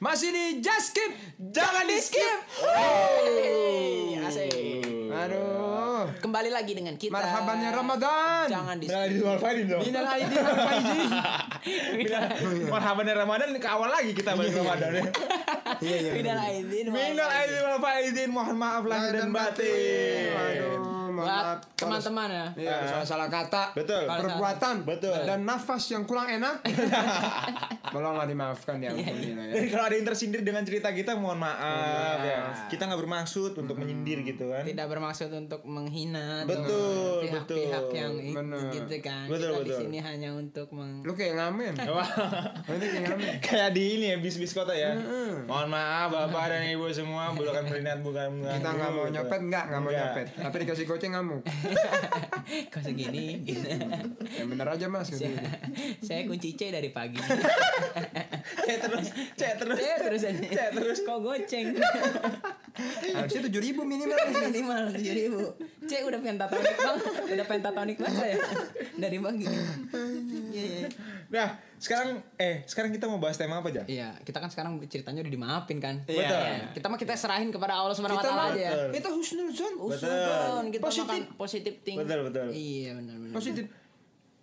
Masih di Just Skip, jangan di skip. Hey, asik. Aduh. Kembali lagi dengan kita. Marhabannya Ramadan. Jangan di Nah, di Walfaidin dong. Minal aidin wal faizin. Iya. Marhaban Ramadan ke awal lagi kita balik Ramadan ya. Iya, iya. Minal aidin. wal Minal faizin. aidin wal faizin, mohon maaf lahir dan batin. Aduh, mohon Buat maaf. teman-teman ya. Iya, salah salah kata. Betul. Kalau- Perbuatan Betul. dan nafas yang kurang enak. Tolonglah dimaafkan ya. ampuni, ya. Dan kalau ada yang tersindir dengan cerita kita, mohon maaf ya. Kita nggak bermaksud untuk menyindir gitu kan. Tidak bermaksud untuk menghina Betul, pihak-pihak betul. yang itu Benar. gitu kan. Betul, kita di betul. sini hanya untuk meng Lu kayak ngamen. Ini kayak ngamen. Kayak di ini ya bis-bis kota ya. Mohon maaf bapak dan ibu semua, bukan berniat bukan gitu. Kita nggak mau nyopet nggak nggak mau Nggak. nyopet. Tapi dikasih goceng ngamuk. kok segini gitu. Yang bener aja mas. gitu. Saya kunci C dari pagi. Cek terus, cek terus. Saya terus Cek terus. kok goceng. Harusnya tujuh ribu minimal. Minimal 7000. C udah pentatonik banget. Udah pentatonik banget saya. Dari pagi. Iya, iya. Nah, sekarang eh sekarang kita mau bahas tema apa, Ja? Iya, kita kan sekarang ceritanya udah dimaafin kan. Iya. Betul. Kita mah kita serahin kepada Allah Subhanahu wa taala aja ya. betul. Kita husnul zon. Usulan Positif. kita positif. makan positif ting. Betul, betul. Iya, benar benar. Positif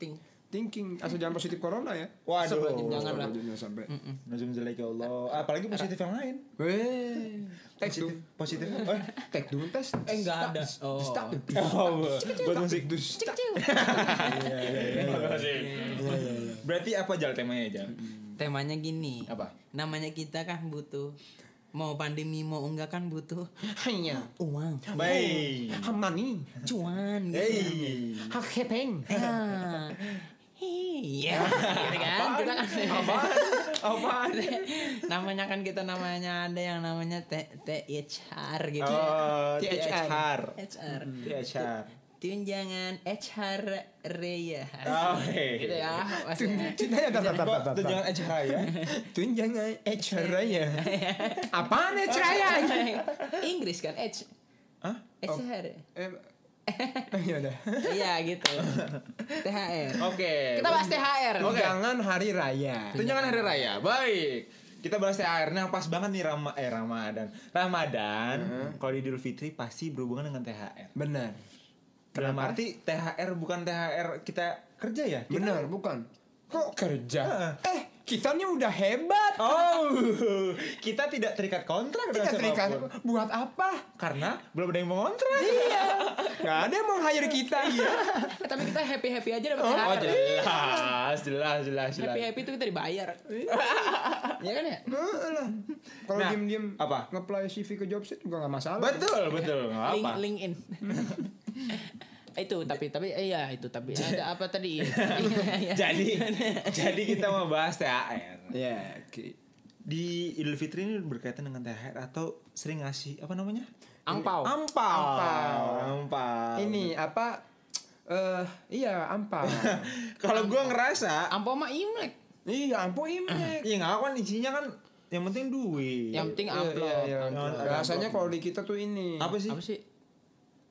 ting. thinking. Asal jangan positif corona ya. Waduh. Jangan lah. Jangan sampai. Nazum jelek ya Allah. Apalagi positif yang lain. Weh. Tes dong. Positif. Eh, Tek dulu tes. Eh enggak ada. Oh. Stop. Oh, buat musik. Cik, cik. Iya, Berarti apa jal temanya jal? Temanya gini. Apa? Namanya kita kan butuh mau pandemi mau enggak kan butuh Hanya. uang, Baik. Hamani. cuan gitu. Hey. Hakepeng. Ah. Hei, ya, gitu kan? Kita kan Apaan? namanya kan kita namanya ada yang namanya T- THR gitu. Oh, Hmm. THR. THR. HR. THR. Tunjangan HR Raya. Oh, Gitu hey. ya. maksudnya. Cintanya tak tak tak Kok tak, tak. tunjangan THR ya? Tunjangan Eceraya. Apaan Eceraya? Inggris kan H. Hah? Oh. HR. Eh, ya udah. Iya gitu. THR. Oke. Kita bahas THR. Tunjangan hari raya. Tunjangan hari raya. Baik. Kita bahas THR. Nah, pas banget nih Rama eh Ramadan. Ramadan kalau di Idul Fitri pasti berhubungan dengan THR. Benar. Dalam arti THR bukan THR kita kerja ya? Kita- Benar, bukan. Kok Heeh. kerja? Eh, kita nih udah hebat. Oh, kita tidak terikat kontrak dengan Kita terikat siapapun. buat apa? karena belum ada yang mau kontrak. Iya. Gak ada yang mau hire kita. Iya. Eh, Tapi kita happy happy aja dapat Oh, THR. jelas, jelas, jelas, jelas. happy happy itu kita dibayar. Iya kan ya? Kalau Nah, diem-diem apa? ngeplay CV ke jobsite juga gak masalah. Betul, betul. nggak Link, apa. link in. itu tapi tapi eh, iya itu tapi ada apa tadi? Iya, iya. Jadi, jadi kita mau bahas THR. Ya, oke. Di Idul Fitri ini berkaitan dengan THR atau sering ngasih apa namanya? Angpau. Ampau. Ampau. Ampau. Ini apa? Eh, iya, ampau. Kalau gua ngerasa, Ampau mah Imlek. iya, ampau imlek. ya nggak kan isinya kan yang penting duit. Yang penting Iya, amplop. iya, iya. Amplop. Bahasanya kalau di kita tuh ini. apa sih? Apa sih?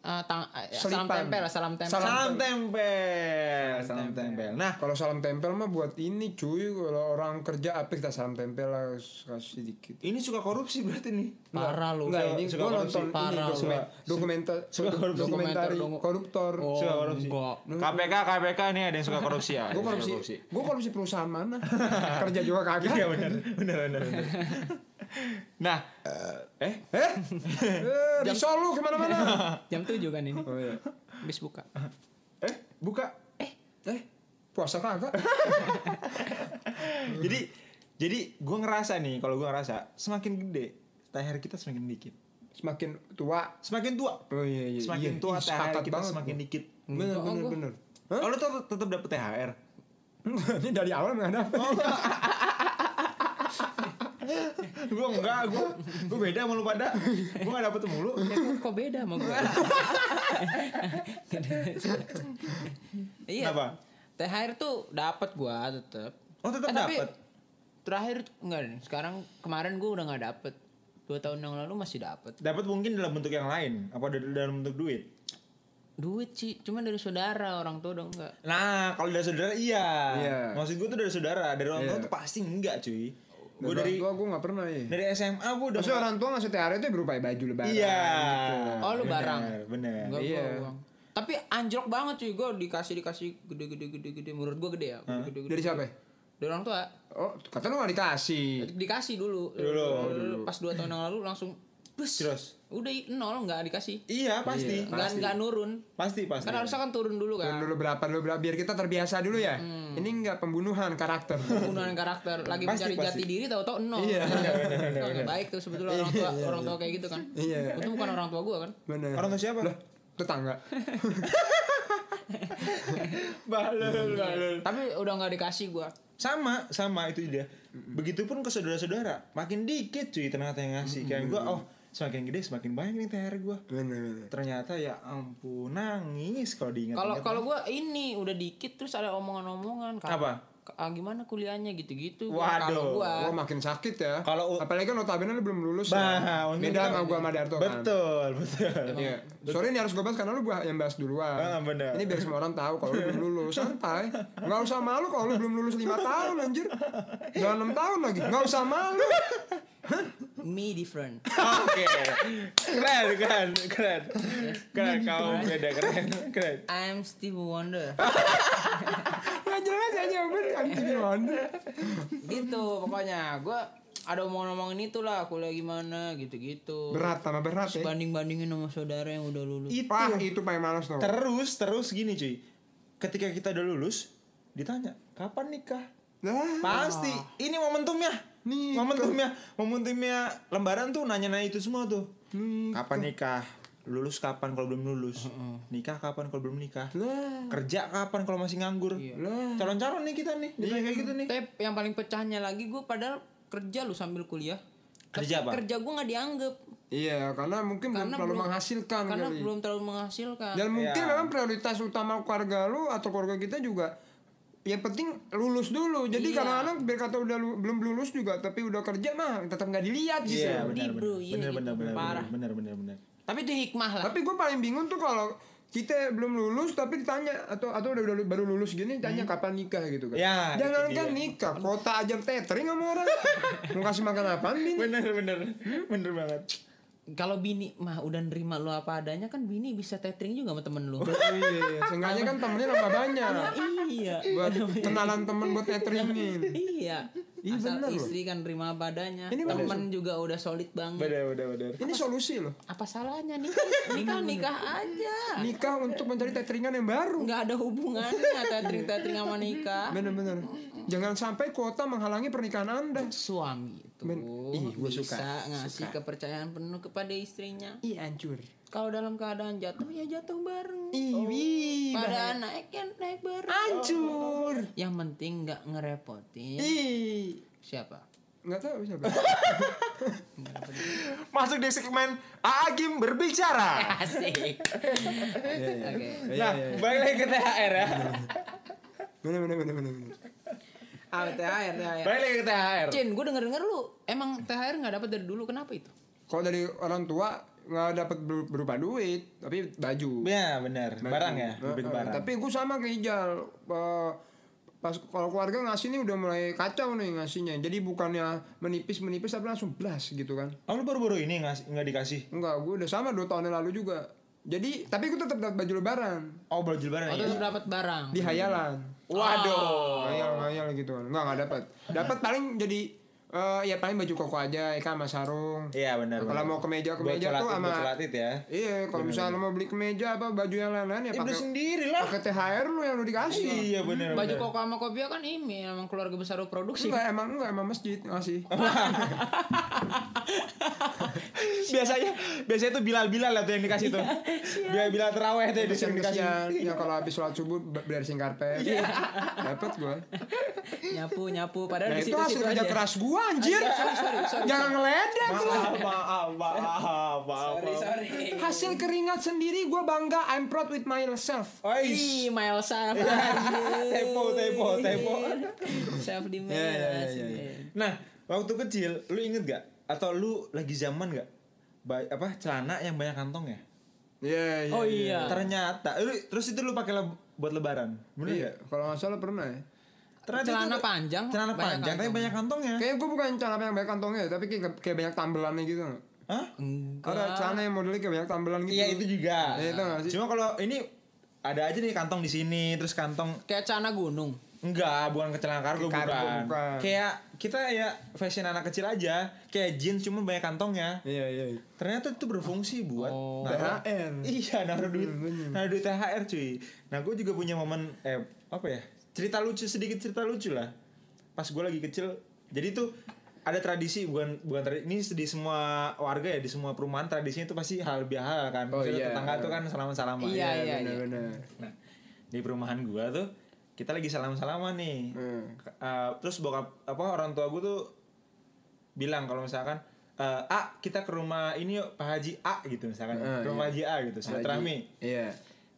Eh, tang- eh, salam Selipan. tempel, salam tempel. Salam Salam tempel. Salam tempel. Nah, Kalau salam tempel mah buat ini cuy, kalau orang kerja apik tak salam tempel lah kasih dikit. ini suka korupsi berarti nih. Parah lu. Enggak, ini suka gua nonton korupsi. ini Parah, dokumen, suka- dokumenter, suka korupsi. dokumentari Dokumenter, doku- koruptor. Oh, Suka korupsi. enggak. KPK, KPK nih ada yang suka korupsi ya. Gue korupsi, gue korupsi perusahaan mana? kerja juga Iya kagak. benar, benar, benar. benar. Nah, eh, Eh, eh risol lu kemana-mana. Jam 7 kan ini. oh, iya. Habis buka. eh, buka. Eh, puasa kagak? Jadi, jadi gue ngerasa nih, kalau gue ngerasa semakin gede, THR kita semakin dikit. Semakin tua. Semakin tua, Oh iya iya. iya. semakin Ih, tua THR sepakat kita banget semakin Gitu, gua. dikit. Oh, Bener Enggak, bener gua- bener. Hah? Kalau tetap tetap dapet THR. Ini dari awal nggak ada. Oh, gue enggak, gue gue beda sama lu pada. Gue gak dapet mulu. Ya, kok, kok beda sama gue? iya. Kenapa? THR Iya. tuh dapat gua tetep. Oh, tetap Eh, tapi dapet. Terakhir enggak, deh. sekarang kemarin gue udah nggak dapet. Dua tahun yang lalu masih dapet. Dapat mungkin dalam bentuk yang lain, apa da- dalam bentuk duit. Duit sih, cuman dari saudara orang tua udah enggak. Nah, kalau dari saudara iya. Iya. Maksud gue tuh dari saudara, dari orang tua Iya. tuh pasti enggak cuy. Gue Dari dari orang tua gue gak pernah ya. dari SMA gue udah Maksudnya orang tua ngasih THR itu berupa baju lebaran. Iya. Oh, lu Bener, barang. Bener. Enggak iya. gua uang. Tapi anjlok banget cuy, gue dikasih dikasih gede gede gede gede. Menurut gue gede ya. Gede, gede, gede. Dari siapa? ya? Dari orang tua. Oh, kata lu gak dikasih. Dikasih dulu. Eh, Dulu, Pas dua tahun yang lalu langsung. Bus. Terus. Udah i- nol nggak dikasih. Iya, pasti. Nggak nggak nurun. Pasti, pasti. Kan harusnya kan turun dulu Dan kan. dulu berapa dulu berapa biar kita terbiasa dulu ya. Ini nggak pembunuhan karakter. pembunuhan karakter lagi Pasti, mencari pasti. jati diri tahu-tahu nol iya, baik tuh sebetulnya orang tua orang tua kayak gitu kan Iya. itu bukan orang tua gue kan Bener. Orang tua siapa? Lah, tetangga. Balul, balul. tapi udah nggak dikasih gue Sama, sama itu dia. Begitupun ke saudara-saudara, makin dikit cuy ternyata yang ngasih. Kayak gue, oh semakin gede semakin banyak nih THR gue. Bener bener. Ternyata ya ampun nangis kalau diingat. kalau kalau gue ini udah dikit terus ada omongan-omongan kan Apa? K- ah, gimana kuliahnya gitu-gitu Waduh. kalau gue Wah makin sakit ya. Kalau- apalagi kan notabene lu belum lulus Bah, ya. untung Beda kita- sama gua sama Darto kan. Betul, betul. Iya. Sorry ini harus gue bahas karena lu gua yang bahas duluan. Ah, bener. Ini biar semua orang tahu kalau lu belum lulus santai. Nggak usah malu kalau lu belum lulus 5 tahun anjir. Jangan 6 tahun lagi. Nggak usah malu. me different Oke. Keren, keren, keren. Keren, kau beda, keren, keren. I'm Steve Wonder Nggak jelas ya jawaban anjir gimana. gitu pokoknya gue ada omongan-omongan itulah kuliah gimana gitu-gitu Berat sama berat ya. banding-bandingin sama saudara yang udah lulus Itu. Wah itu paling males tuh. Terus, terus gini cuy. Ketika kita udah lulus, ditanya, kapan nikah? Lah, Pasti, ini momentumnya. Nikah. Momentumnya, momentumnya lembaran tuh nanya-nanya itu semua tuh. Nikah. Kapan nikah? Lulus kapan kalau belum lulus? Nikah kapan kalau belum nikah? lah, Kerja kapan kalau masih nganggur? lah. Calon-calon nih kita nih, ditanya kayak gitu nih. Tapi yang paling pecahnya lagi gue padahal kerja lu sambil kuliah. Kerja apa? Kerja gue nggak dianggap Iya, karena mungkin belum Karena terlalu belum- menghasilkan karena kali. belum terlalu menghasilkan. Dan mungkin Iya. memang prioritas utama keluarga lu atau keluarga kita juga yang penting lulus dulu. Jadi Iya. kadang-kadang biar kata udah lu- belum lulus juga tapi udah kerja mah tetap nggak dilihat gitu. Iya, Sedih, benar, bro. benar, Iya, benar, gitu. benar, benar, Parah. benar, benar, benar. Tapi itu hikmah lah. Tapi gue paling bingung tuh kalau kita belum lulus tapi ditanya atau atau udah, udah baru lulus gini tanya Hmm. kapan nikah gitu kan. Ya, itu Jangan kan dia. nikah, kota aja tethering sama orang. Mau kasih makan apaan Bin? Benar, benar, benar banget. Kalau bini mah udah nerima lu apa adanya kan bini bisa tethering juga sama temen lu. iya, seenggaknya kan temennya nambah banyak. iya. Buat kenalan temen buat tetheringin. Iya. Iya, Asal bener loh. istri kan nerima apa adanya. Ini bener. Temen juga udah solid banget. Benar, benar, benar. Ini solusi loh. Apa salahnya nikah? Nikah nikah aja. Nikah untuk mencari tetheringan yang baru. Nggak ada hubungannya tethering tethering sama nikah. Bener-bener. Jangan sampai kuota menghalangi pernikahan Anda. suami itu Men- Ih, gua bisa suka, ngasih kepercayaan penuh kepada istrinya. Ih, hancur. Kalau dalam keadaan jatuh ya jatuh bareng. Ih, wih, Pada naik ya naik bareng. hancur. Yang penting nggak ngerepotin Ih. siapa. Nggak tahu siapa. Masuk di segmen Aagim berbicara. Asik. Oke. Nah, balik lagi ke THR ya. Bener, bener, bener, bener. bener. Ah, THR, THR. Balik lagi ke THR. Cin, gue denger denger lu emang THR nggak dapat dari dulu kenapa itu? Kalau dari orang tua nggak dapat ber- berupa duit, tapi baju. Ya, benar. Barang ya, lebih ke Heeh, barang. Tapi gue sama kayak Ijal. Eh, pas kalau keluarga ngasih nih udah mulai kacau nih ngasihnya. Jadi bukannya menipis menipis tapi langsung blas gitu kan. Oh, lu baru-baru ini ngas- nggak dikasih? Enggak, gue udah sama 2 tahun yang lalu juga. Jadi, tapi gue tetap dapat baju lebaran Oh, baru Nah, lebaran Atau iya. ya? lu dapat barang? di hayalan. Waduh. Hayal-hayal gitu kan. Enggak, enggak dapat. Dapat paling jadi eh, ya paling baju koko aja, ya kan sama sarung. Iya, benar. Kalau benar. mau kemeja, Buat kemeja tuh celatit- sama buat celatit ya. Iya, kalau misalnya lu mau beli kemeja apa baju yang lain-lain ya Ya, beli pakai sendiri lah. pakai THR lu yang lu dikasih. Iya, benar. Baju benar. koko sama kopiah kan ini emang keluarga besar lu produksi. Enggak, emang enggak emang masjid ngasih. biasanya biasanya tuh bilal-bilal lah tuh yang dikasih tuh. Bilal-bilal terawih tuh yang Iya, Kesian iya. dikasih. kesian ya kalau habis sholat subuh ber- bersihin karpet. Dapat gua. nyapu nyapu padahal Nah di itu situ hasil situ kerja aja. keras gua anjir. Ah, sorry, sorry, sorry, Jangan ngeledek lu. Maaf, maaf, maaf, maaf. Sorry sorry. Hasil keringat sendiri gua bangga. I'm proud with myself. Ih, Oish. myself. Iya, Tepo, tepo, tepo. Self dimana? Iya, Ya, ya, ya, ya, ya. Nah, waktu kecil lu inget gak? Atau lu lagi zaman gak? Ba- apa celana yang banyak kantongnya? Iya, Oh iya. Ternyata lu terus itu lu pakai leb- buat lebaran. Bener Iya, gak? kalau nggak salah pernah ya. Ternyata Celana itu- panjang, Celana banyak panjang tapi kantongnya. banyak kantongnya. Kayaknya gua bukan celana yang banyak kantongnya, ya, tapi kayak, kayak banyak tambelannya gitu. nggak? Hah? Ada Enggak. celana yang modelnya kayak banyak tambelan gitu. Iya, itu juga. Iya, itu nggak sih? Cuma kalau ini ada aja nih kantong di sini, terus kantong Kayak celana gunung. Enggak, bukan ke celana kargo, Kargo, bukan. bukan. Kayak kita ya fashion anak kecil aja, kayak jeans cuma banyak kantongnya. Iya, iya. iya. Ternyata itu berfungsi buat Oh. naruh- THR. Iya, naruh duit, bener. naruh duit THR cuy. Nah, gue juga punya momen eh apa ya? Cerita lucu sedikit cerita lucu lah. Pas gue lagi kecil, jadi tuh ada tradisi bukan bukan tradisi ini di semua warga ya di semua perumahan tradisinya itu pasti hal biasa kan. Oh, Misalnya iya. tetangga tuh kan salaman-salaman. Iya, iya, iya. Benar-benar. Nah, di perumahan gua tuh kita lagi salam-salaman nih. Hmm. K- eh, terus bokap apa orang tua gua tuh bilang kalau misalkan eh, "A, kita ke rumah ini yuk Pak Haji A" gitu misalkan. Eh, ke rumah iya. Haji A gitu, silaturahmi. Iya.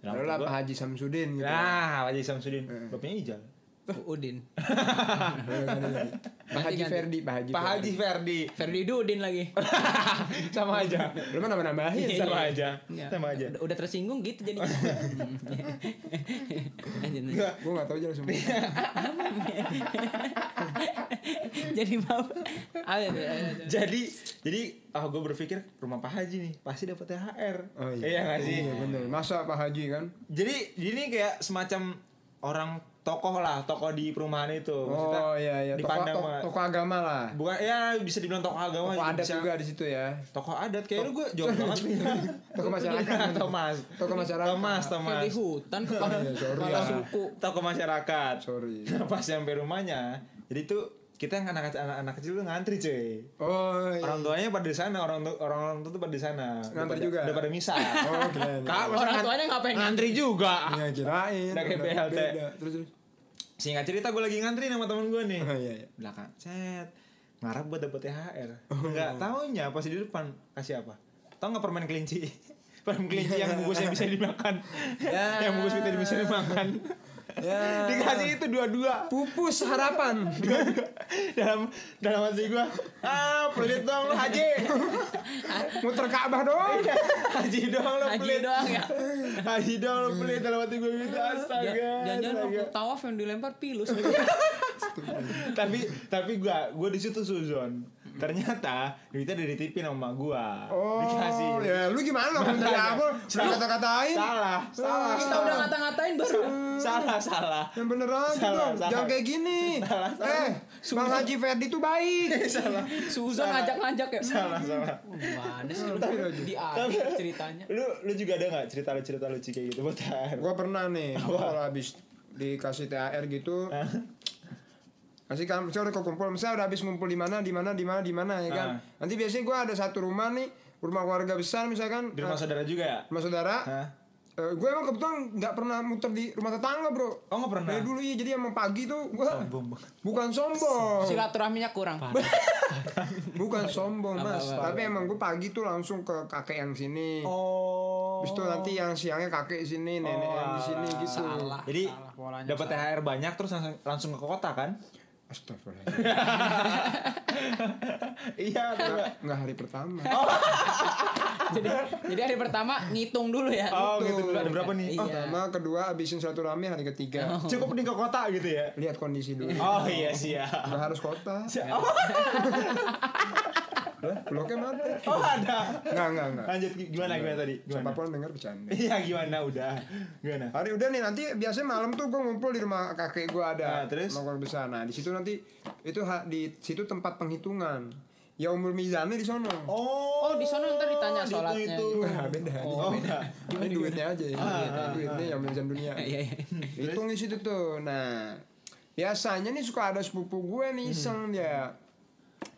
Dalam Lalu lah gua- Pak Haji Samsudin gitu. Nah, Pak Haji Samsudin, Eh. bapaknya Ijal. Udin. Iya, Pak Haji Ganti-ganti. Ferdi, Pak Haji. Pak Haji Ferdi. Ferdi Dudin lagi. sama aja. Ferdi. Lu mah nambah-nambahin. Iya, sama aja. Iya. Sama aja. Udah, udah tersinggung gitu jadi. Lanjut, lanjut. Enggak. Gua nggak tahu jelas semua. Iya. jadi mau. Ayo, ayo, ayo. Jadi jadi ah gue berpikir rumah Pak Haji nih pasti dapat THR. Oh, iya. nggak sih? Iya bener. Masa Pak Haji kan? Jadi ini kayak semacam orang tokoh lah, tokoh di perumahan itu. Maksudnya Oh iya iya. Toko, Dipandang toko, banget. toko agama lah. Bukan ya bisa dibilang tokoh agama gitu, Toko adat bisa. juga di situ ya. Tokoh adat kayak lu gue jauh banget nih. Toko masyarakat. Thomas. Toko masyarakat. Thomas, Kayak di Thomas. hutan kepala, Iya, sorry kepala ya. suku. Tokoh masyarakat. Sorry. Nah, Pas sampai rumahnya, jadi tuh kita yang anak anak kecil tuh ngantri cuy. Oh iya. Orang tuanya pada di sana, orang tu- orang orang tua tuh pada di sana. Udah Ngantri pada- juga? Udah pada misa. Oh keren. Kak, masa Orang ngan- tuanya ngapain? Ngantri juga. Iya kirain. Udah kayak Udah BLT. beda. Terus terus. Singkat cerita gue lagi ngantri sama temen gue nih. Oh iya iya. belakang set ngarep buat dapet THR nggak taunya pas di depan kasih apa tau nggak permen kelinci permen kelinci yang bungkusnya bisa dimakan Ya. yang bungkus kita bisa dimakan Ya. dikasih itu dua-dua Pupus harapan. dalam dalam hati gua ah pelit dong lu haji Iya. Muter Ka'bah doang. haji dong lu Haji pelit doang ya. haji dong lu pelit dalam hati gua gitu astaga Jangan-jangan astaga. waktu tawaf yang dilempar pilus. tapi tapi gua gua di situ suzon ternyata duitnya udah dititipin sama gua Oh. dikasih Ya lu gimana? Kamu tadi Makanya. apa? Sudah Salah. kata-katain. salah salah Kita salah udah ngata-ngatain baru. salah salah Yang bener aja Salah, dong, salah. jangan kayak gini. Salah, salah. Eh, Bang Haji Ferdi tuh baik. salah Susan Salah. ngajak-ngajak ya. salah salah Mana sih lu Tapi- di tapi- akhir ceritanya. lu lu juga ada nggak cerita lu cerita lucu kayak gitu buat THR? Gua pernah nih, gua kalau habis dikasih THR gitu, Hah? kasih kan misalnya udah kekumpul, misalnya udah habis ngumpul di mana, di mana, di mana, di mana ya kan. Ah. Nanti biasanya gua ada satu rumah nih, rumah keluarga besar misalkan. di rumah eh, saudara juga ya rumah saudara. Hah? Eh, gue emang kebetulan nggak pernah muter di rumah tetangga bro. oh nggak pernah Dari dulu ya, jadi emang pagi tuh gue Sombong banget. bukan sombong. Silaturahminya kurang. Bukan sombong mas, Apa, apa, tapi emang gue pagi tuh langsung ke kakek yang sini. oh Habis itu nanti yang siangnya kakek sini, nenek yang di sini gitu. Salah. jadi salah, polanya dapat salah. THR banyak terus langsung, langsung ke kota kan Astagfirullah. iya atau nggak? Enggak hari pertama. Oh. Jadi, jadi hari pertama ngitung dulu ya. oh Betul. gitu dulu ada berapa nih Oh, Iya. Oh, pertama, kedua, abisin satu rame hari Oh. ketiga. cukup nih ke kota gitu ya Lihat kondisi dulu. oh iya siap Nggak harus kota. oh, Lah, Bloknya mati. oh ada Enggak, enggak, enggak. lanjut gi- gimana gimana tadi gimana Siapapun dengar bercanda. iya gimana udah gimana Hari udah nih nanti biasanya malam tuh gue ngumpul di rumah kakek gue ada Nah, terus? nongkrong besar. Nah di situ nanti itu ha- di situ tempat penghitungan. Ya umur mizannya di sono. oh Oh, di sana ntar ditanya di sholatnya itu, Nah, beda. gitu, oh enggak Ini duitnya aja ya. Ah, duitnya yang mizan dunia. Iya, iya. Hmm, Hitung di situ tuh. Nah, biasanya nih suka ada sepupu gue Hmm. nih iseng dia.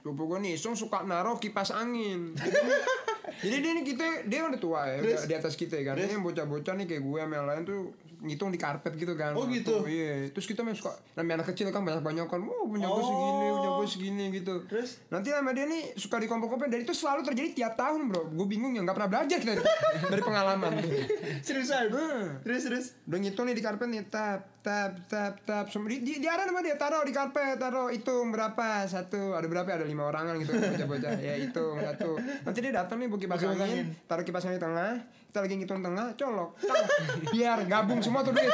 Sepupu gue nih iseng suka naruh kipas angin. Jadi dia nih kita dia udah tua ya, udah di atas kita ya kan. Ini yang bocah-bocah nih kayak gue sama yang lain tuh ngitung di karpet gitu kan Oh, waktu- gitu? iya terus kita main suka namanya anak kecil kan banyak banyak kan oh punya gue Oh. segini punya gue segini gitu Terus? nanti sama dia nih suka dikompor-komporin dan itu selalu terjadi tiap tahun bro gue bingung ya nggak pernah belajar kita dari pengalaman Seriusan? Hmm. Terus terus. udah ngitung nih di karpet nih tap tap tap tap Semua- di, di, diarah sama dia taruh di karpet taruh hitung berapa satu ada berapa ya? ada lima orangan gitu bocah-bocah ya hitung satu nanti dia datang nih buki kipas Pakai angin, angin. taruh kipas angin di tengah kita lagi ngitung tengah colok tang. biar gabung semua tuh duit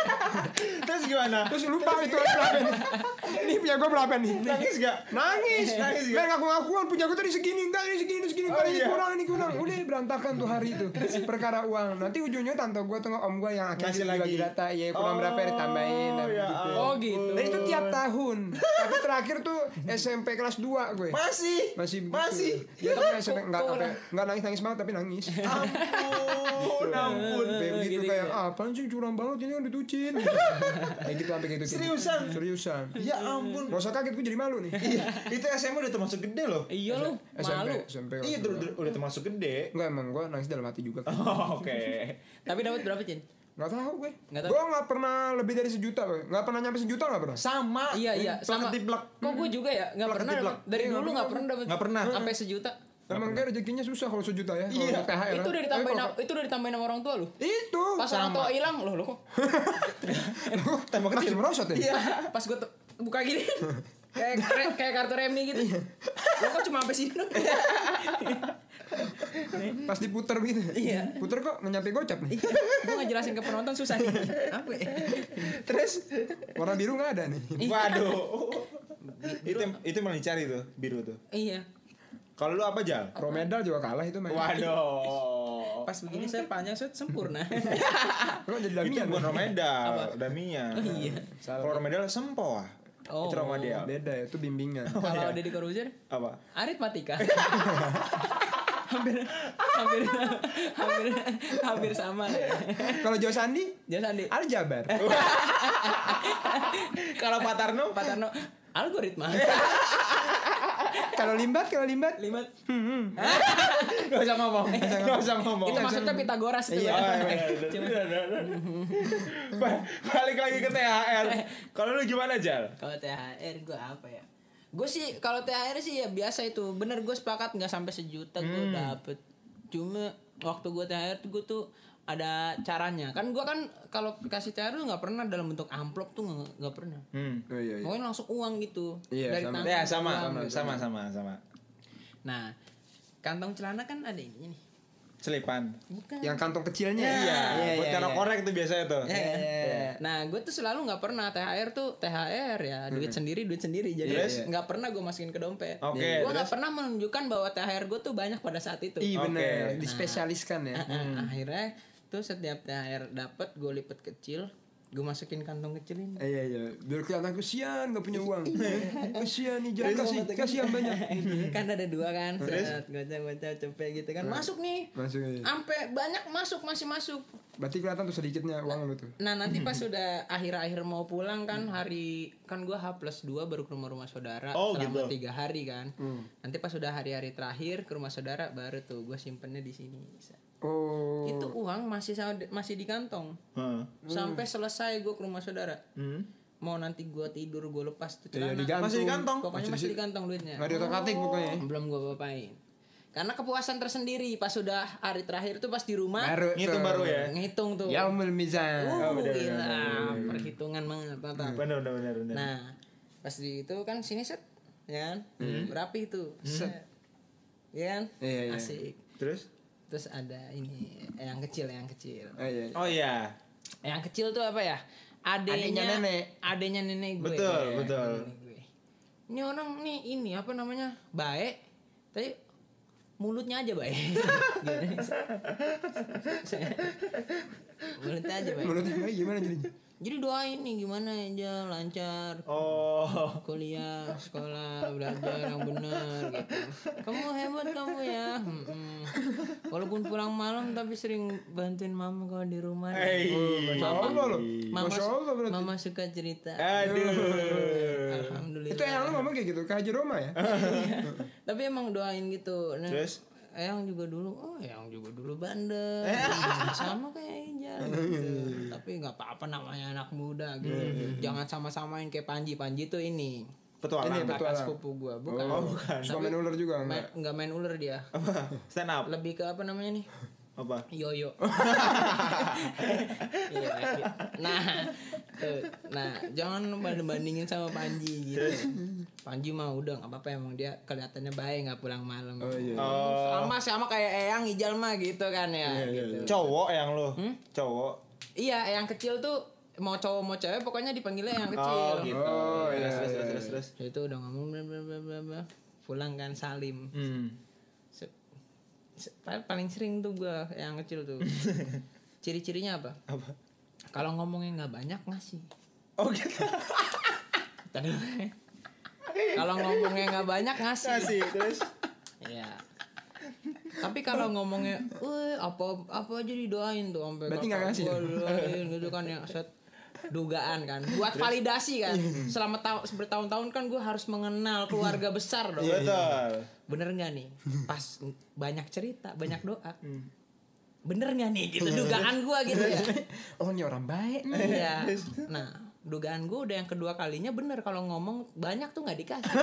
Terus gimana? terus lupa itu harus berapa nih ini punya gue berapa nih Nangis gak? nangis Nangis nangis juga. ngaku ngakuan punya gue tadi segini enggak ini segini ini segini Oh, enggak, ini iya. kurang ini kurang udah berantakan tuh hari itu perkara uang nanti ujungnya tante gue tengok om gue yang akhirnya Ngasih lagi lagi. gila ya kurang Oh, berapa ya ditambahin dan ya gitu. Oh, gitu. Dan itu tiap tahun tapi terakhir tuh SMP kelas 2 gue Masih. masih begitu. Masih. ya tapi SMP enggak Kok- kok sampai enggak nangis nangis banget tapi nangis Ampun, Ya ampun. Kayak Eh, begitu gitu, kayak gitu. ah, apaan sih curang banget ini yang ditucin kayak gitu sampai kayak gitu Seriusan? seriusan Ya ampun. Gak usah kaget gue jadi malu nih Iya, itu SMA udah termasuk gede loh. Iya lu, SMP malu. SMP kelas Iya, dua. udah, udah- udah termasuk gede. Enggak emang gue nangis dalam hati juga Oh, Oke. Tapi dapat berapa, Cin? Gak tahu gue Nggak tahu. Gue gak pernah lebih dari sejuta gue Gak pernah nyampe sejuta gak pernah Sama. Iya, iya, sama. Tiplek. Kok gue juga ya? Nggak Plak pernah ketiplak. dapet. Dari Iya, dulu nggak nggak pernah dapat. Nggak pernah. Sampai sejuta. Emang gue rezekinya susah kalau sejuta ya kalau Iya. untuk THR ya. Itu udah ditambahin, Tapi sama- itu udah ditambahin sama orang tua lu. kalau- Itu Pas orang Sama. tua hilang loh, lo kok. Tambah Makin kecil. merosot ya Iya. Pas gue tuh buka gini. kayak kre- kayak kartu remi gitu. Lo kok cuma sampai sini doang? Pas diputer gitu Iya. Puter kok nggak nyampe gocap nih Gue ngejelasin ke penonton susah nih. Apa ya? Terus Warna biru gak ada nih waduh. itu itu malah dicari tuh, biru tuh. Iya. Kalau lu apa, Jal? Romedal juga kalah itu main Waduh. Pas begini saya panjang saya sempurna. Kok jadi ya? Itu damian bukan Oh, Romedal, Damia. iya. Kalau Romedal sempoa. Oh. Itu Romedal. Beda ya itu bimbingan Kalau Deddy Corbuzier, Apa? aritmatika. hampir hampir hampir hampir sama. ya. Kalau Jo Sandi Jadi Sandi, Aljabar Kalau Patarno? Pak Tarno, algoritma. Kalau Limbat Kalau Limbat Lima. Gak usah ngomong. Gak usah ngomong. Itu Hmm. maksudnya Pitagoras itu. Iya, ya. bener, bener, bener. Ba- Balik lagi ke THR. Kalau lu gimana, Jal? Kalau THR gue apa ya? Gue sih kalau THR sih ya biasa itu. Bener gue sepakat nggak sampai sejuta gue Hmm. dapet. Cuma waktu gue THR tuh gue tuh ada caranya. Kan gue kan kalau kasih THR tuh nggak pernah dalam bentuk amplop tuh nggak nggak pernah. Hmm. Oh iya iya Pokoknya langsung uang gitu. Iya, Dari sama. tangan Ya, sama, uang. sama, sama, sama, sama. Nah, kantong celana kan ada ini nih. Selipan. Bukan. Yang kantong kecilnya Iya, Eh. buat iya, cara iya. korek tuh biasanya tuh. Nah, gue tuh selalu nggak pernah THR tuh THR ya, duit sendiri, duit sendiri. Jadi Iya, nggak pernah gue masukin ke dompet. Oke, gue nggak pernah menunjukkan bahwa THR gue tuh banyak pada saat itu. Iya Oke. bener Nah. Dispesialiskan ya Ah, ah, Akhirnya tuh setiap THR dapat gue lipet kecil, gue masukin kantong kecil ini. Iya iya, biar kelihatan kesian gak punya uang. kesian nih jangan kasih, kasih yang banyak. kan ada dua kan, set gocap gocap cepet gitu kan. Masuk nih. Masuk aja. Ampe banyak masuk masih masuk. Berarti kelihatan tuh sedikitnya uang lu tuh. Nah nanti pas sudah akhir-akhir mau pulang kan hari kan gue H plus 2 baru ke rumah-rumah saudara Oh, selama gitu. tiga hari kan. Nanti pas sudah hari-hari terakhir ke rumah saudara baru tuh gue simpennya di sini. Oh. Itu uang masih sama- masih di kantong Heeh. sampai selesai gue ke rumah saudara. Hmm. Mau nanti gue tidur gue lepas tuh Iya, celana. digantung. Masih di kantong. Pokoknya masih di kantong duitnya. Gak diotak-atik pokoknya. Belum gue bapain. Karena kepuasan tersendiri pas sudah hari terakhir tuh pas di rumah Baru ya, Itu baru ya. ngitung tuh. Yaumul mizan. Uh, gila, perhitungan banget Tata. Benar, benar, benar, benar. Nah, pas di itu kan sini set, ya kan? Berapi itu. Set. Ya kan? Hmm. Iya, iya. Asik. Terus? Terus ada ini eh, yang kecil, yang kecil. Oh, iya. Oh iya. Yang kecil tuh apa ya? Adenya Adenya nenek. Adenya nenek gue. Betul, Iya, betul. nenek gue. Ini orang nih ini apa namanya? Baik. Tapi mulutnya aja baik. Gitu. mulutnya aja baik. Menurut gue gimana jadinya? Jadi doain nih gimana aja lancar Oh. kuliah, sekolah, belajar yang benar gitu. Kamu hebat kamu ya. Mm-mm. Walaupun pulang malam tapi sering bantuin mama kalau di rumah. Eh, iya. Hey. Oh, Masya Allah lo. Mama, Masya Allah berarti. mama suka cerita. Aduh. Alhamdulillah. Oh, Itu yang lu ngomong kayak gitu, ke Haji Roma ya? tapi emang doain gitu. Nah, Terus? Eyang juga dulu oh Eyang juga dulu bandel Eh. Iya, sama kayak Iya, Angel gitu. tapi nggak apa-apa namanya anak muda gitu iya. jangan sama-samain kayak Panji Panji tuh ini petualang. Ini- kakak petualang. sepupu gua bukan Oh, bukan. Suka main ular juga main, enggak? nggak main ular dia Apa? Stand up. lebih ke apa namanya nih Apa? yoyo Iya, iya. nah tuh. nah jangan banding bandingin sama Panji gitu Panji mah udah nggak apa-apa emang dia kelihatannya baik nggak pulang malam gitu. Oh iya. sama sama kayak Eyang Ijal mah gitu kan ya Iya, gitu. Cowok yang lu. Hmm? Cowok. iya Eyang kecil tuh mau cowok mau cewek pokoknya dipanggilnya Eyang kecil Oh gitu. Oh, iya, terus, terus, iya, terus, terus. itu udah ngomong bla bla bla bla bla. pulang kan Salim Hmm. Se- se- pa- paling sering tuh gue yang kecil tuh ciri-cirinya apa Apa? kalau ngomongnya nggak banyak ngasih Oh gitu. Tadi kalau ngomongnya nggak banyak ngasih Kasih terus. Iya. tapi kalau ngomongnya eh apa apa aja didoain tuh sampai Berarti nggak kakak ngasih ya?" gua doain gitu kan ya set dugaan kan buat validasi kan selama ta- bertahun-tahun kan gue harus mengenal keluarga besar dong Iya. Iya, Betul. bener nggak nih pas banyak cerita banyak doa bener nggak nih gitu dugaan gua gitu ya Oh ini orang baik nih. iya nah dugaan gue udah yang kedua kalinya bener kalau ngomong banyak tuh nggak dikasih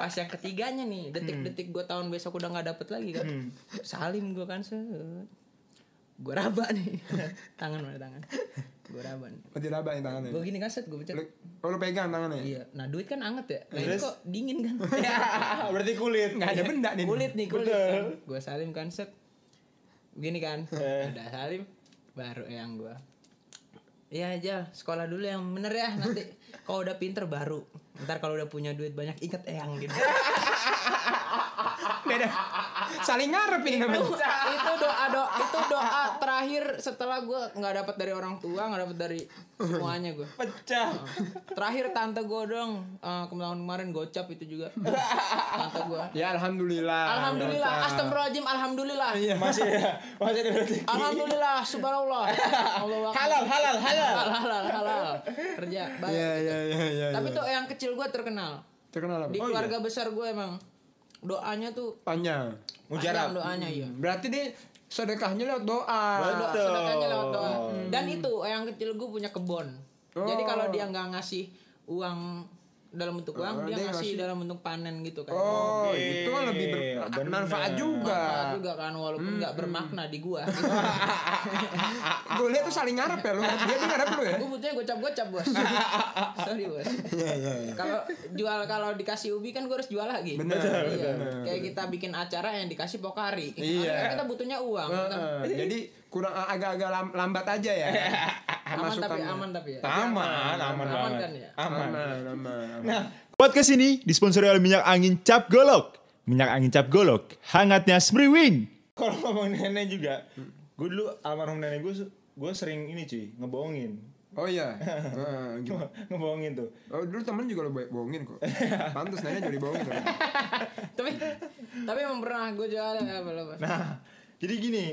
pas yang ketiganya nih detik-detik gue tahun besok udah nggak dapet lagi kan salim gue kan gue raba nih tangan mana tangan gue raba nih Oh diraba nih tangannya. gue gini kan set gue pencet Lu, oh, lu pegang tangannya. iya nah duit kan anget ya nah ini Terus? kok dingin kan Ah, Berarti kulit. Enggak ada benda nih. Iya. kulit nih kulit Betul. kan. gue salim kan set gini kan Eh. udah salim baru yang gue Iya aja sekolah dulu yang bener ya nanti kalau udah pinter baru ntar kalau udah punya duit banyak inget eyang gitu Beda. Saling ngarep ini namanya. itu doa doa itu doa terakhir setelah gue nggak dapat dari orang tua nggak dapat dari semuanya gue Pecah. Oh. terakhir tante gue dong eh, kemarin kemarin gocap itu juga tante gue Ya alhamdulillah. alhamdulillah Udah. astagfirullahaladzim alhamdulillah Masih ada. Masih ada rezeki. Alhamdulillah, subhanallah. Allah akbar. Halal, halal, halal. halal, halal, halal. Kerja baik. Iya iya iya iya. Oh, Tapi tuh yang kecil gue terkenal. terkenal apa? Di keluarga besar gue emang doanya tuh Panjang. Mujarab. panjang doanya ya. Berarti dia sedekahnya lewat doa. Doa, Betul. sedekahnya Ah, lewat doa. Dan itu yang kecil gue punya kebon. Jadi Oh. kalau dia nggak ngasih uang dalam bentuk uang, Oh, dia, dia ngasih ngasih. dalam bentuk panen gitu kan. Oh, Oke, itu kan lebih ber- bener. bermanfaat juga. Manfaat juga kan Hmm, walaupun nggak bermakna di gua. Gue Ah, lihat tuh saling ngarep ya lu. Dia tuh ngarep lu ya. gue butuhnya gocap gocap bos sorry bos Iya, kalau jual kalau dikasih ubi kan gue harus jual lagi Benar, iya. benar. kayak kita bikin acara yang dikasih pokari Iya. Akhirnya kita butuhnya uang kan. Heeh. Jadi kurang ah, agak-agak lam- lambat aja ya. aman tapi Masukannya. aman tapi ya Aman, aman Aman banget. kan ya? Aman. Nah. Aman, aman, aman. Podcast ini disponsori oleh minyak angin cap golok. Minyak angin cap golok, hangatnya semriwing. Kalau ngomong nenek juga, gue dulu almarhum nenek gue, gue sering ini cuy, ngebohongin, Oh iya. Heeh, gitu. ngebohongin tuh. Oh, dulu temen juga lo bo- bohongin kok. Pantes nanya jadi bohongin. kok. tapi tapi emang pernah gue jual ya, apa lo bos Nah, jadi gini,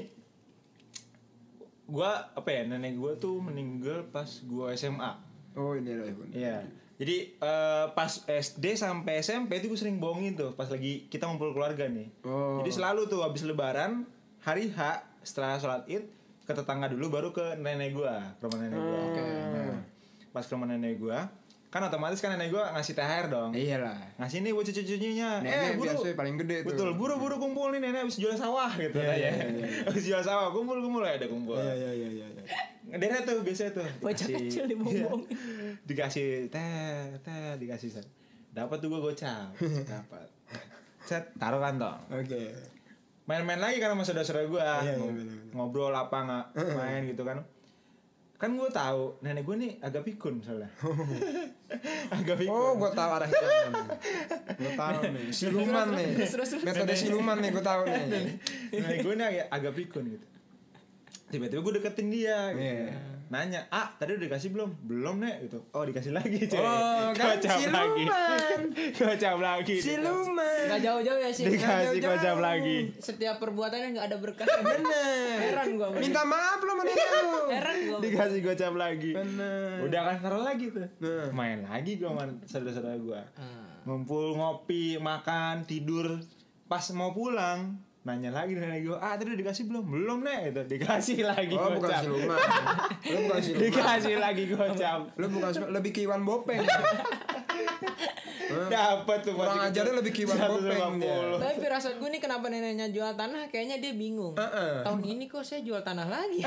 gue apa ya nenek gue tuh meninggal pas gue SMA. Oh ini loh. Bun. Iya. Jadi eh, pas SD sampai SMP itu gue sering bohongin tuh pas lagi kita ngumpul keluarga nih. Oh. Jadi selalu tuh habis lebaran hari H setelah sholat Id ke tetangga dulu baru ke nenek gua, ke rumah nenek gua. Nah, pas ke rumah nenek gua, kan otomatis kan nenek gua ngasih THR dong. Iyalah. Ngasih nih buat cucu-cucunya. Eh, Nenek biasanya paling gede tuh. Betul, buru-buru kumpul nih nenek habis jual sawah gitu Iya, ya. iya, iya, Habis jual sawah, kumpul-kumpul ya ada kumpul. Iya iya iya iya. iya. Ngederet tuh biasanya tuh. Bocah Dikasih- kecil dibobongin. Iya. Dikasih teh teh dikasih set. Dapat tuh gue gocap. Dapat. Set taruh kantong. Oke. Main-main lagi kan sama saudara-saudara gue Iya, iya, bener-bener. ngobrol apa nggak main gitu kan. Kan gue tahu nenek gue nih agak pikun soalnya. agak pikun. Oh, gua tahu arah hitamnya. Gua tahu nih. Siluman nih. Metode siluman nih gua tahu nih. Nenek gue nih agak, agak pikun gitu. Tiba-tiba gue deketin dia gitu. Iya. Nanya, ah tadi udah dikasih belum? Belum nek gitu. Oh dikasih lagi cuy. Oh, kan Gocap lagi. siluman. Gocap lagi. Siluman. nggak jauh jauh ya sih Dikasih Jauh-jauh. gocap lagi. setiap perbuatannya nggak ada berkah Bener. heran gue Minta maaf lo mana lu. heran gue Dikasih gocap lagi. Bener. Udah kan taruh lagi tuh. Nah. Ah. Main lagi gue sama saudara-saudara gue. Ngumpul, ngopi, makan, tidur. Pas mau pulang, nanya lagi nanya lagi ah tadi udah dikasih belum belum nih itu dikasih lagi Oh, bukan gocap siluman. Lu bukan siluman. dikasih lagi gocap Lu bukan siluman, lebih ke Iwan Bopeng. dapat tuh Kurang pasti ajarnya lebih kiwan kopeng dia. 150. Tapi firasat gue nih kenapa neneknya jual tanah kayaknya dia bingung. Heeh. Tahun ini kok saya jual tanah lagi.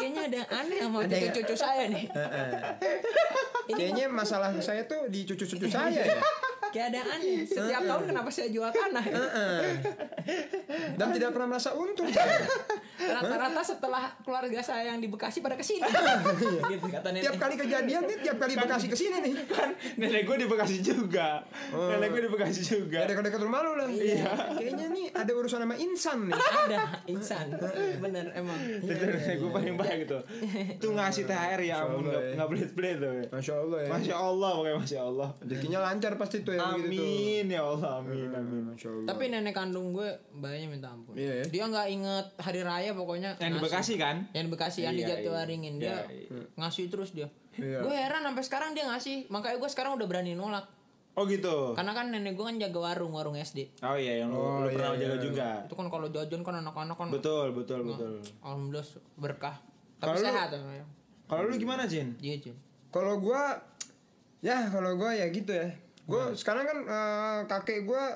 kayaknya ada yang aneh sama Ada yang- cucu-cucu saya nih. Ini Kayaknya masalah saya tuh di cucu-cucu saya ya. kayak ada yang aneh. Setiap tahun kenapa saya jual tanah? Heeh. Dan tidak pernah merasa untung saya. Rata-rata setelah keluarga saya yang di Bekasi pada kesini. gitu kata nenek. Tiap kali kejadian nih, tiap kali Bekasi kesini nih. kan nenek gue di Bekasi juga Oh. nenek gue di Bekasi juga Ya dekat-dekat rumah lu lah. Iya. Kayaknya nih ada urusan sama insan nih. ada insan. Bener emang. Itu nenek Iya, gue paling banyak gitu Tuh ngasih THR ya ampun Allah, nggak ya. nggak pelit pelit tuh Masya Allah ya. Masya Allah pokoknya Masya Allah Rezekinya lancar pasti gitu tuh Iya. yang begitu tuh. Amin ya Allah amin amin Masya Allah. Tapi nenek kandung gue banyak minta ampun. Iya, ya. Dia nggak inget hari raya pokoknya. Yang di ngasih. Bekasi kan yang di Bekasi yang Iya, di Jatiwaringin iya. dia Iya, ngasih terus dia Iya. gue heran sampai sekarang dia ngasih makanya gue sekarang udah berani nolak Oh gitu karena kan nenek gue kan jaga warung warung SD Oh iya yang lu, Oh, lu iya, pernah iya. jaga juga itu kan kalau jajan kan anak-anak kan Betul betul betul alhamdulillah berkah tapi Kalau lu- sehat emang ya. Iya, Kalau lu gimana Jin? dia Jim. Kalau gua ya kalau gua ya gitu ya. Gua sekarang kan eh, kakek gua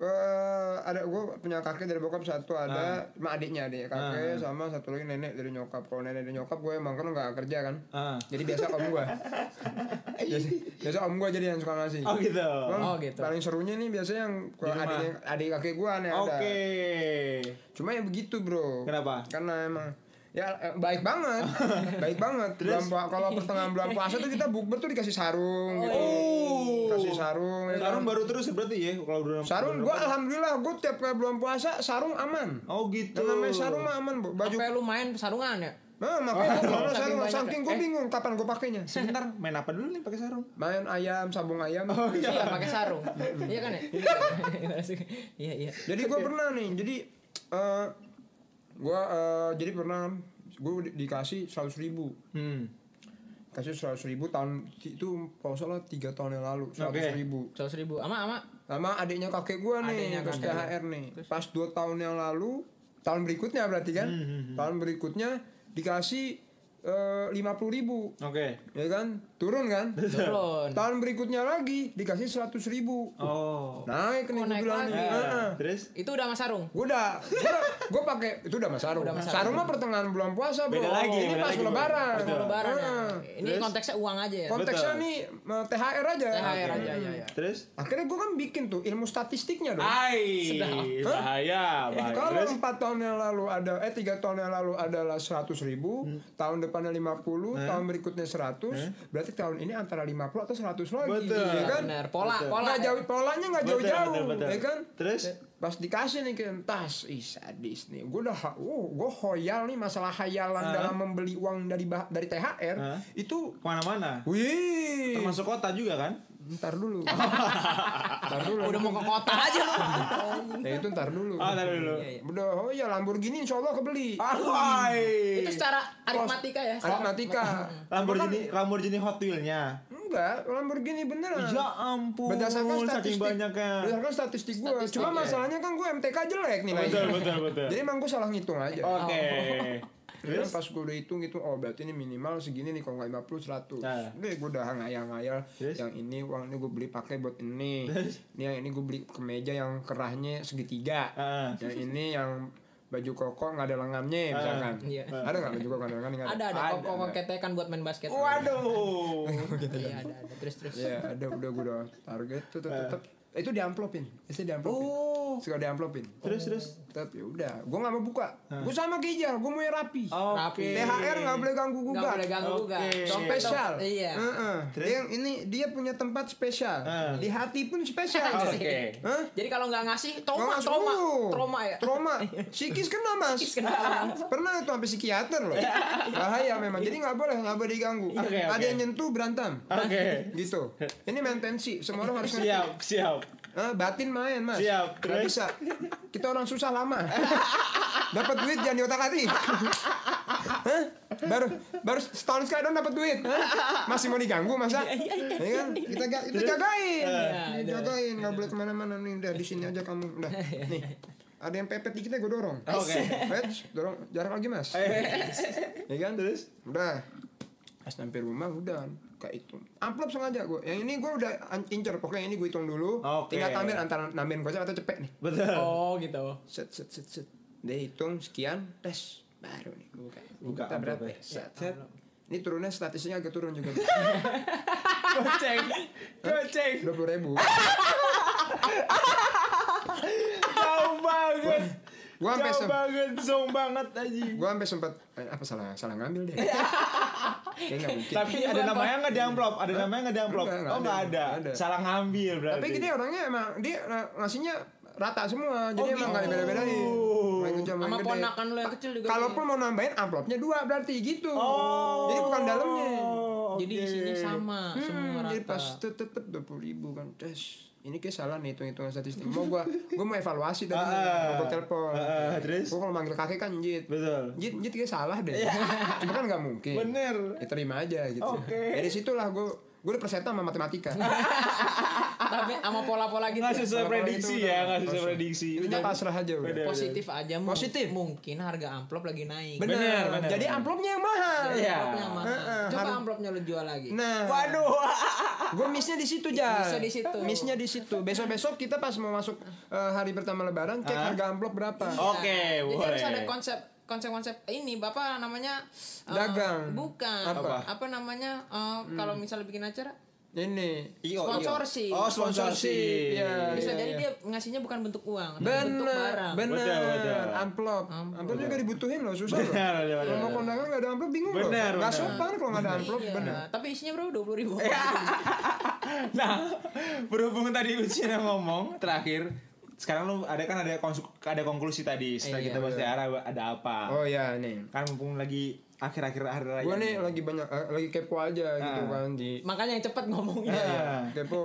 eh, ada gua punya kakek dari bokap satu ada sama adiknya adik kakek sama satu lagi nenek dari nyokap. Kalau nenek dari nyokap gue emang kan nggak kerja kan. Ah. Jadi biasa om gua. biasa, biasa om gua jadi yang suka ngasih. Oh gitu Cuman Oh, gitu. Paling serunya nih biasanya yang ke rumah. adiknya adik kakek gua nih ada. Oke Cuma ya begitu bro. Kenapa? Karena emang ya eh, baik banget, baik banget. Bulan pua- kalau pertengahan bulan puasa tuh kita bukber tuh dikasih sarung gitu. Oh. Kasih sarung. ya kan. Sarung baru terus berarti ya kalau udah Sarung gua alhamdulillah gua tiap kali bulan puasa sarung aman. Oh gitu Yang namanya sarung mah aman, Bu. baju. sampai lu main sarungan ya Nah, makanya Oh, gua kalau sarung banyak saking gua bingung kapan gua pakainya. Sebentar main apa dulu nih pakai sarung? Main ayam, sambung ayam. Oh, iya pakai sarung iya kan ya iya iya Jadi gua pernah nih. Jadi eh gua eh, jadi pernah gua di- dikasih 100.000 ribu Hmm kasih seratus ribu tahun itu kalau nggak salah tiga tahun yang lalu seratus Oke. ribu seratus ribu ama ama sama adiknya kakek gue nih Adiknya terus kakek. THR nih pas dua tahun yang lalu tahun berikutnya berarti kan tahun berikutnya dikasih eh, lima puluh ribu Oke ya kan turun kan turun tahun berikutnya lagi dikasih seratus ribu Oh naik nih Kok gue naik bilang lagi? nih heeh. Nah, Terus itu udah sama sarung Gue udah, gue pakai itu udah mas sarung. Sarung mah pertengahan bulan puasa bro. Beda lagi, Ini beda pas lagi, bro. lebaran. Pas lebaran ya. Heeh. ini konteksnya uang aja ya Ah, Konteksnya Betul. nih eh, THR aja. THR aja ya ya Terus Akhirnya gue kan bikin tuh ilmu statistiknya Ah. dong. Hai, Sedap. bahaya, bahaya. Eh, Kalau Terus, empat tahun yang lalu ada, eh tiga tahun yang lalu adalah seratus ribu, Hmm. tahun depannya 50 Hmm. tahun berikutnya 100 berarti tahun ini antara 50 atau 100 lagi, Betul. ya kan? benar pola pola ya. Nggak jauh, polanya nggak Betul, jauh-jauh, betul, betul. ya kan? Terus? pas dikasih nih ke tas, ih sadis nih, gue udah, ha- wow, gue hoyal nih masalah hayalan Hah? dalam membeli uang dari bah- dari THR, Hah? itu, kemana-mana. wih, Termasuk kota juga kan? ntar dulu, ntar dulu, udah mau ke kota aja lu. ya itu ntar dulu, Ah, tadi dulu. udah, oh ya Lamborghini insya Allah kebeli, Hai. itu secara aritmatika ya secara- aritmatika, Lamborghini, Lamborghini Hot Wheel-nya. Enggak, Lamborghini beneran. Ya ampun, Ah. Berdasarkan statistik, saking banyaknya. berdasarkan statistik gue. Cuma iya. masalahnya kan gue MTK jelek nilainya. Betul, betul, Oh, betul. Jadi emang gue salah ngitung aja. Oke. Terus Kan pas gue udah hitung gitu, oh berarti ini minimal segini nih kalau nggak 50 100. Nah. Udah gue udah ngayal-ngayal Terus? yang ini uang ini gue beli pakai buat ini. Ini yang ini gue beli kemeja yang kerahnya segitiga. Heeh. Yang ini yang baju koko nggak ada lengannya misalkan. Iya. Ada nggak baju koko nggak ada lengan? Nggak ada gitu. ada kok kok ketekan buat main basket Waduh. iya ada ada terus terus Ya ada udah gue udah target tuh tetep itu diamplopin, itu diamplopin. Oh. Suka diamplopin. Terus, terus. Tetep ya udah, gue nggak mau buka. Gue sama kayak Ijal, gue mau yang rapi. Oh, Rapi. Oke. THR nggak boleh ganggu nggak gugat. boleh ganggu Oke. gugat Dom spesial. iya Heeh. Terus? Dia- ini dia punya tempat spesial. Ah. Oh. Di hati pun spesial. Oke. Oke. Hah? jadi kalau nggak ngasih trauma Nggak masuk. trauma Uh, trauma ya Trauma. Psikis kena mas. Pernah itu sampai psikiater loh. Iya. Bahaya memang. Jadi nggak boleh nggak boleh diganggu. Iya. Oke, Ada oke. yang nyentuh berantem. Oke. Gitu. Ini maintenance. Semua orang Iya. harus ngerti. Siap, siap. Eh, batin main mas Siap, Nggak terus? bisa Kita orang susah lama Dapat duit jangan di otak atik Hah? Baru baru setahun sekali dong dapat duit Hah? Masih mau diganggu masa Ya kan? Kita, ga- Ah, kita jagain Kita jagain Gak boleh kemana-mana Nih udah di sini aja kamu Udah nih ada yang pepet dikitnya gue dorong Oke. Eh, Fetch, dorong jarak lagi mas ya kan terus udah pas sampai rumah udah kayak itu amplop sengaja gue yang ini gue udah an- incer pokoknya yang ini gue hitung dulu Oke. tinggal tambahin antara nambahin kocek atau cepet nih betul Oh gitu. set set set set dia hitung sekian tes baru nih gue buka Buka Kita berapa amplopnya. ya? set set ini turunnya statistiknya agak turun juga Goceng. Goceng. dua puluh ribu jauh banget gue sampai jauh sem- banget zong banget aja gue sampai sempet eh, apa salah salah ngambil deh kayak nggak mungkin tapi ada namanya nggak di amplop ada namanya nggak di amplop Enggak, enggak oh nggak ada, ada. enggak ada. salah ngambil berarti tapi gini orangnya emang dia eh, ngasihnya rata semua jadi emang nggak gitu. dibeda-bedain Main kecil, main Sama gede. ponakan lo yang kecil juga. Kalaupun mau nambahin amplopnya dua berarti gitu. Oh. Jadi bukan dalamnya. Oh, Jadi oke. isinya sama Hmm, Nah, semua rata. jadi pas tetep dua puluh ribu kan tes. Ini kayak salah nih hitung-hitungan statistik. Mau gua gua mau evaluasi tadi. mau Ah. gua telepon. Ah, terus? Gua kalau manggil kakek kan jit. betul Iya. Jit, jit kayak salah deh. Cuma kan nggak mungkin. Bener. Ya, terima aja gitu. Oke. Dari situlah gua gua udah perseta sama matematika. Tapi sama pola-pola gitu. ya? nggak sesuai Kalau prediksi itu ya udah- nggak sesuai prediksi Intinya pasrah aja Beda. udah. Positif aja. mu- Mungkin harga amplop lagi naik. Bener. Bener, bener. Jadi amplopnya yang mahal. Iya. Amplopnya mahal. Heeh, Coba har- amplopnya lo jual lagi. Nah. waduh Gue missnya di situ Jal Missnya di situ. Missnya di situ. Besok-besok kita pas mau masuk eh, hari pertama Lebaran cek Hah? harga amplop berapa. Oh. Oke, Nah, Jadi boleh. harus ada konsep konsep-konsep ini bapak namanya eh, Dagang. bukan Apa? apa, namanya eh, kalau misalnya bikin acara Ini. Iyo, iyo. Sponsorship. oh sponsorship Iya, iya, bisa jadi iya. dia ngasihnya bukan bentuk uang tapi bentuk Benar, barang benar. Betul, betul. Amplop. Amplop. Amplop juga dibutuhin loh, susah loh. Benar, benar, Kalau mau benar. kondangan nggak ada amplop bingung loh. Benar, Nggak benar. sopan kalau nggak ada amplop, Iya, benar. tapi isinya berapa dua puluh ribu Nah, berhubung tadi Ucina ngomong terakhir, sekarang lu ada kan ada konsu- ada konklusi tadi setelah Iya, kita bahas daerah ada apa? Oh ya nih. Kan mumpung lagi akhir-akhir hari raya. Gue nih lagi banyak eh, lagi kepo aja gitu Ah. kan di makanya yang cepat ngomongnya Iya. Kepo.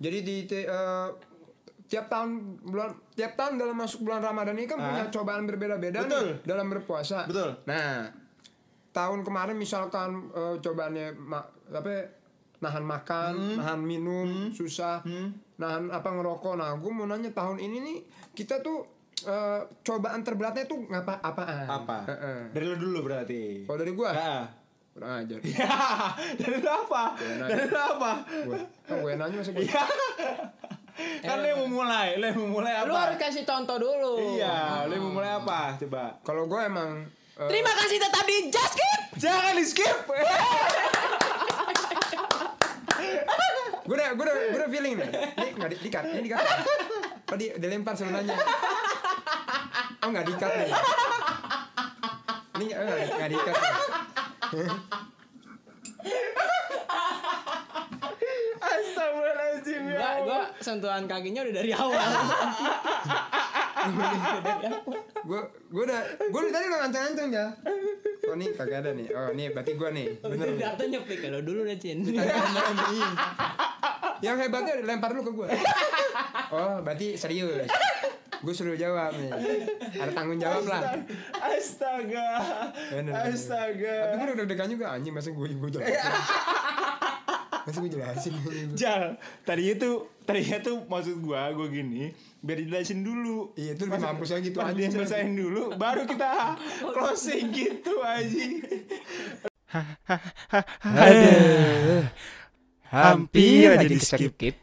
Jadi di te- eh, tiap tahun bulan tiap tahun dalam masuk bulan Ramadan ini kan punya cobaan berbeda-beda Ah. Betul. nih dalam berpuasa. Betul. Nah, tahun kemarin misalkan eh, cobaannya ma- apa nahan makan, Hmm. nahan minum, susah, nahan apa ngerokok. Nah, gue mau nanya tahun ini nih kita tuh eh, cobaan terberatnya tuh ngapa apaan? apa? Heeh. Dari lu dulu berarti. Kalau dari gua, Ah. kurang ajar. dari lu apa? Dari lu apa? Gua, oh, gue nanya masih Iya. gua. kan lu yang memulai, lu yang memulai apa? lu harus Oh. kasih contoh dulu Ah, Iya, lu yang memulai apa? Coba. Kalau gue emang eh, terima kasih tetap di Just Keep Jangan di skip. gue udah gue udah gue udah feeling nih ini nggak di dikat ini dikat oh di dilempar sebenarnya oh nggak dikat nih ini eh, nggak di- nggak dikat nih. Astagfirullahaladzim ya. Gua, gua sentuhan kakinya udah dari awal gue gue udah gue dari tadi udah ngancang-ngancang ya oh nih kagak ada nih oh nih berarti gue nih bener bener atau nyepik kalau dulu udah Cin yang hebatnya lempar lu ke gue oh berarti serius gue suruh jawab nih ada tanggung jawab lah Astaga. Bener, bener. Astaga. tapi kan gue udah deg juga anjing masa gue gue jelasin masa gue jelasin Jal, tadinya tuh tadinya tuh maksud gua gua gini biar dijelasin dulu. Iya, itu lebih Pas- mampus lagi tuh, pas anjing. dia selesaiin dulu baru kita closing gitu anjing. Hampir aja di skip.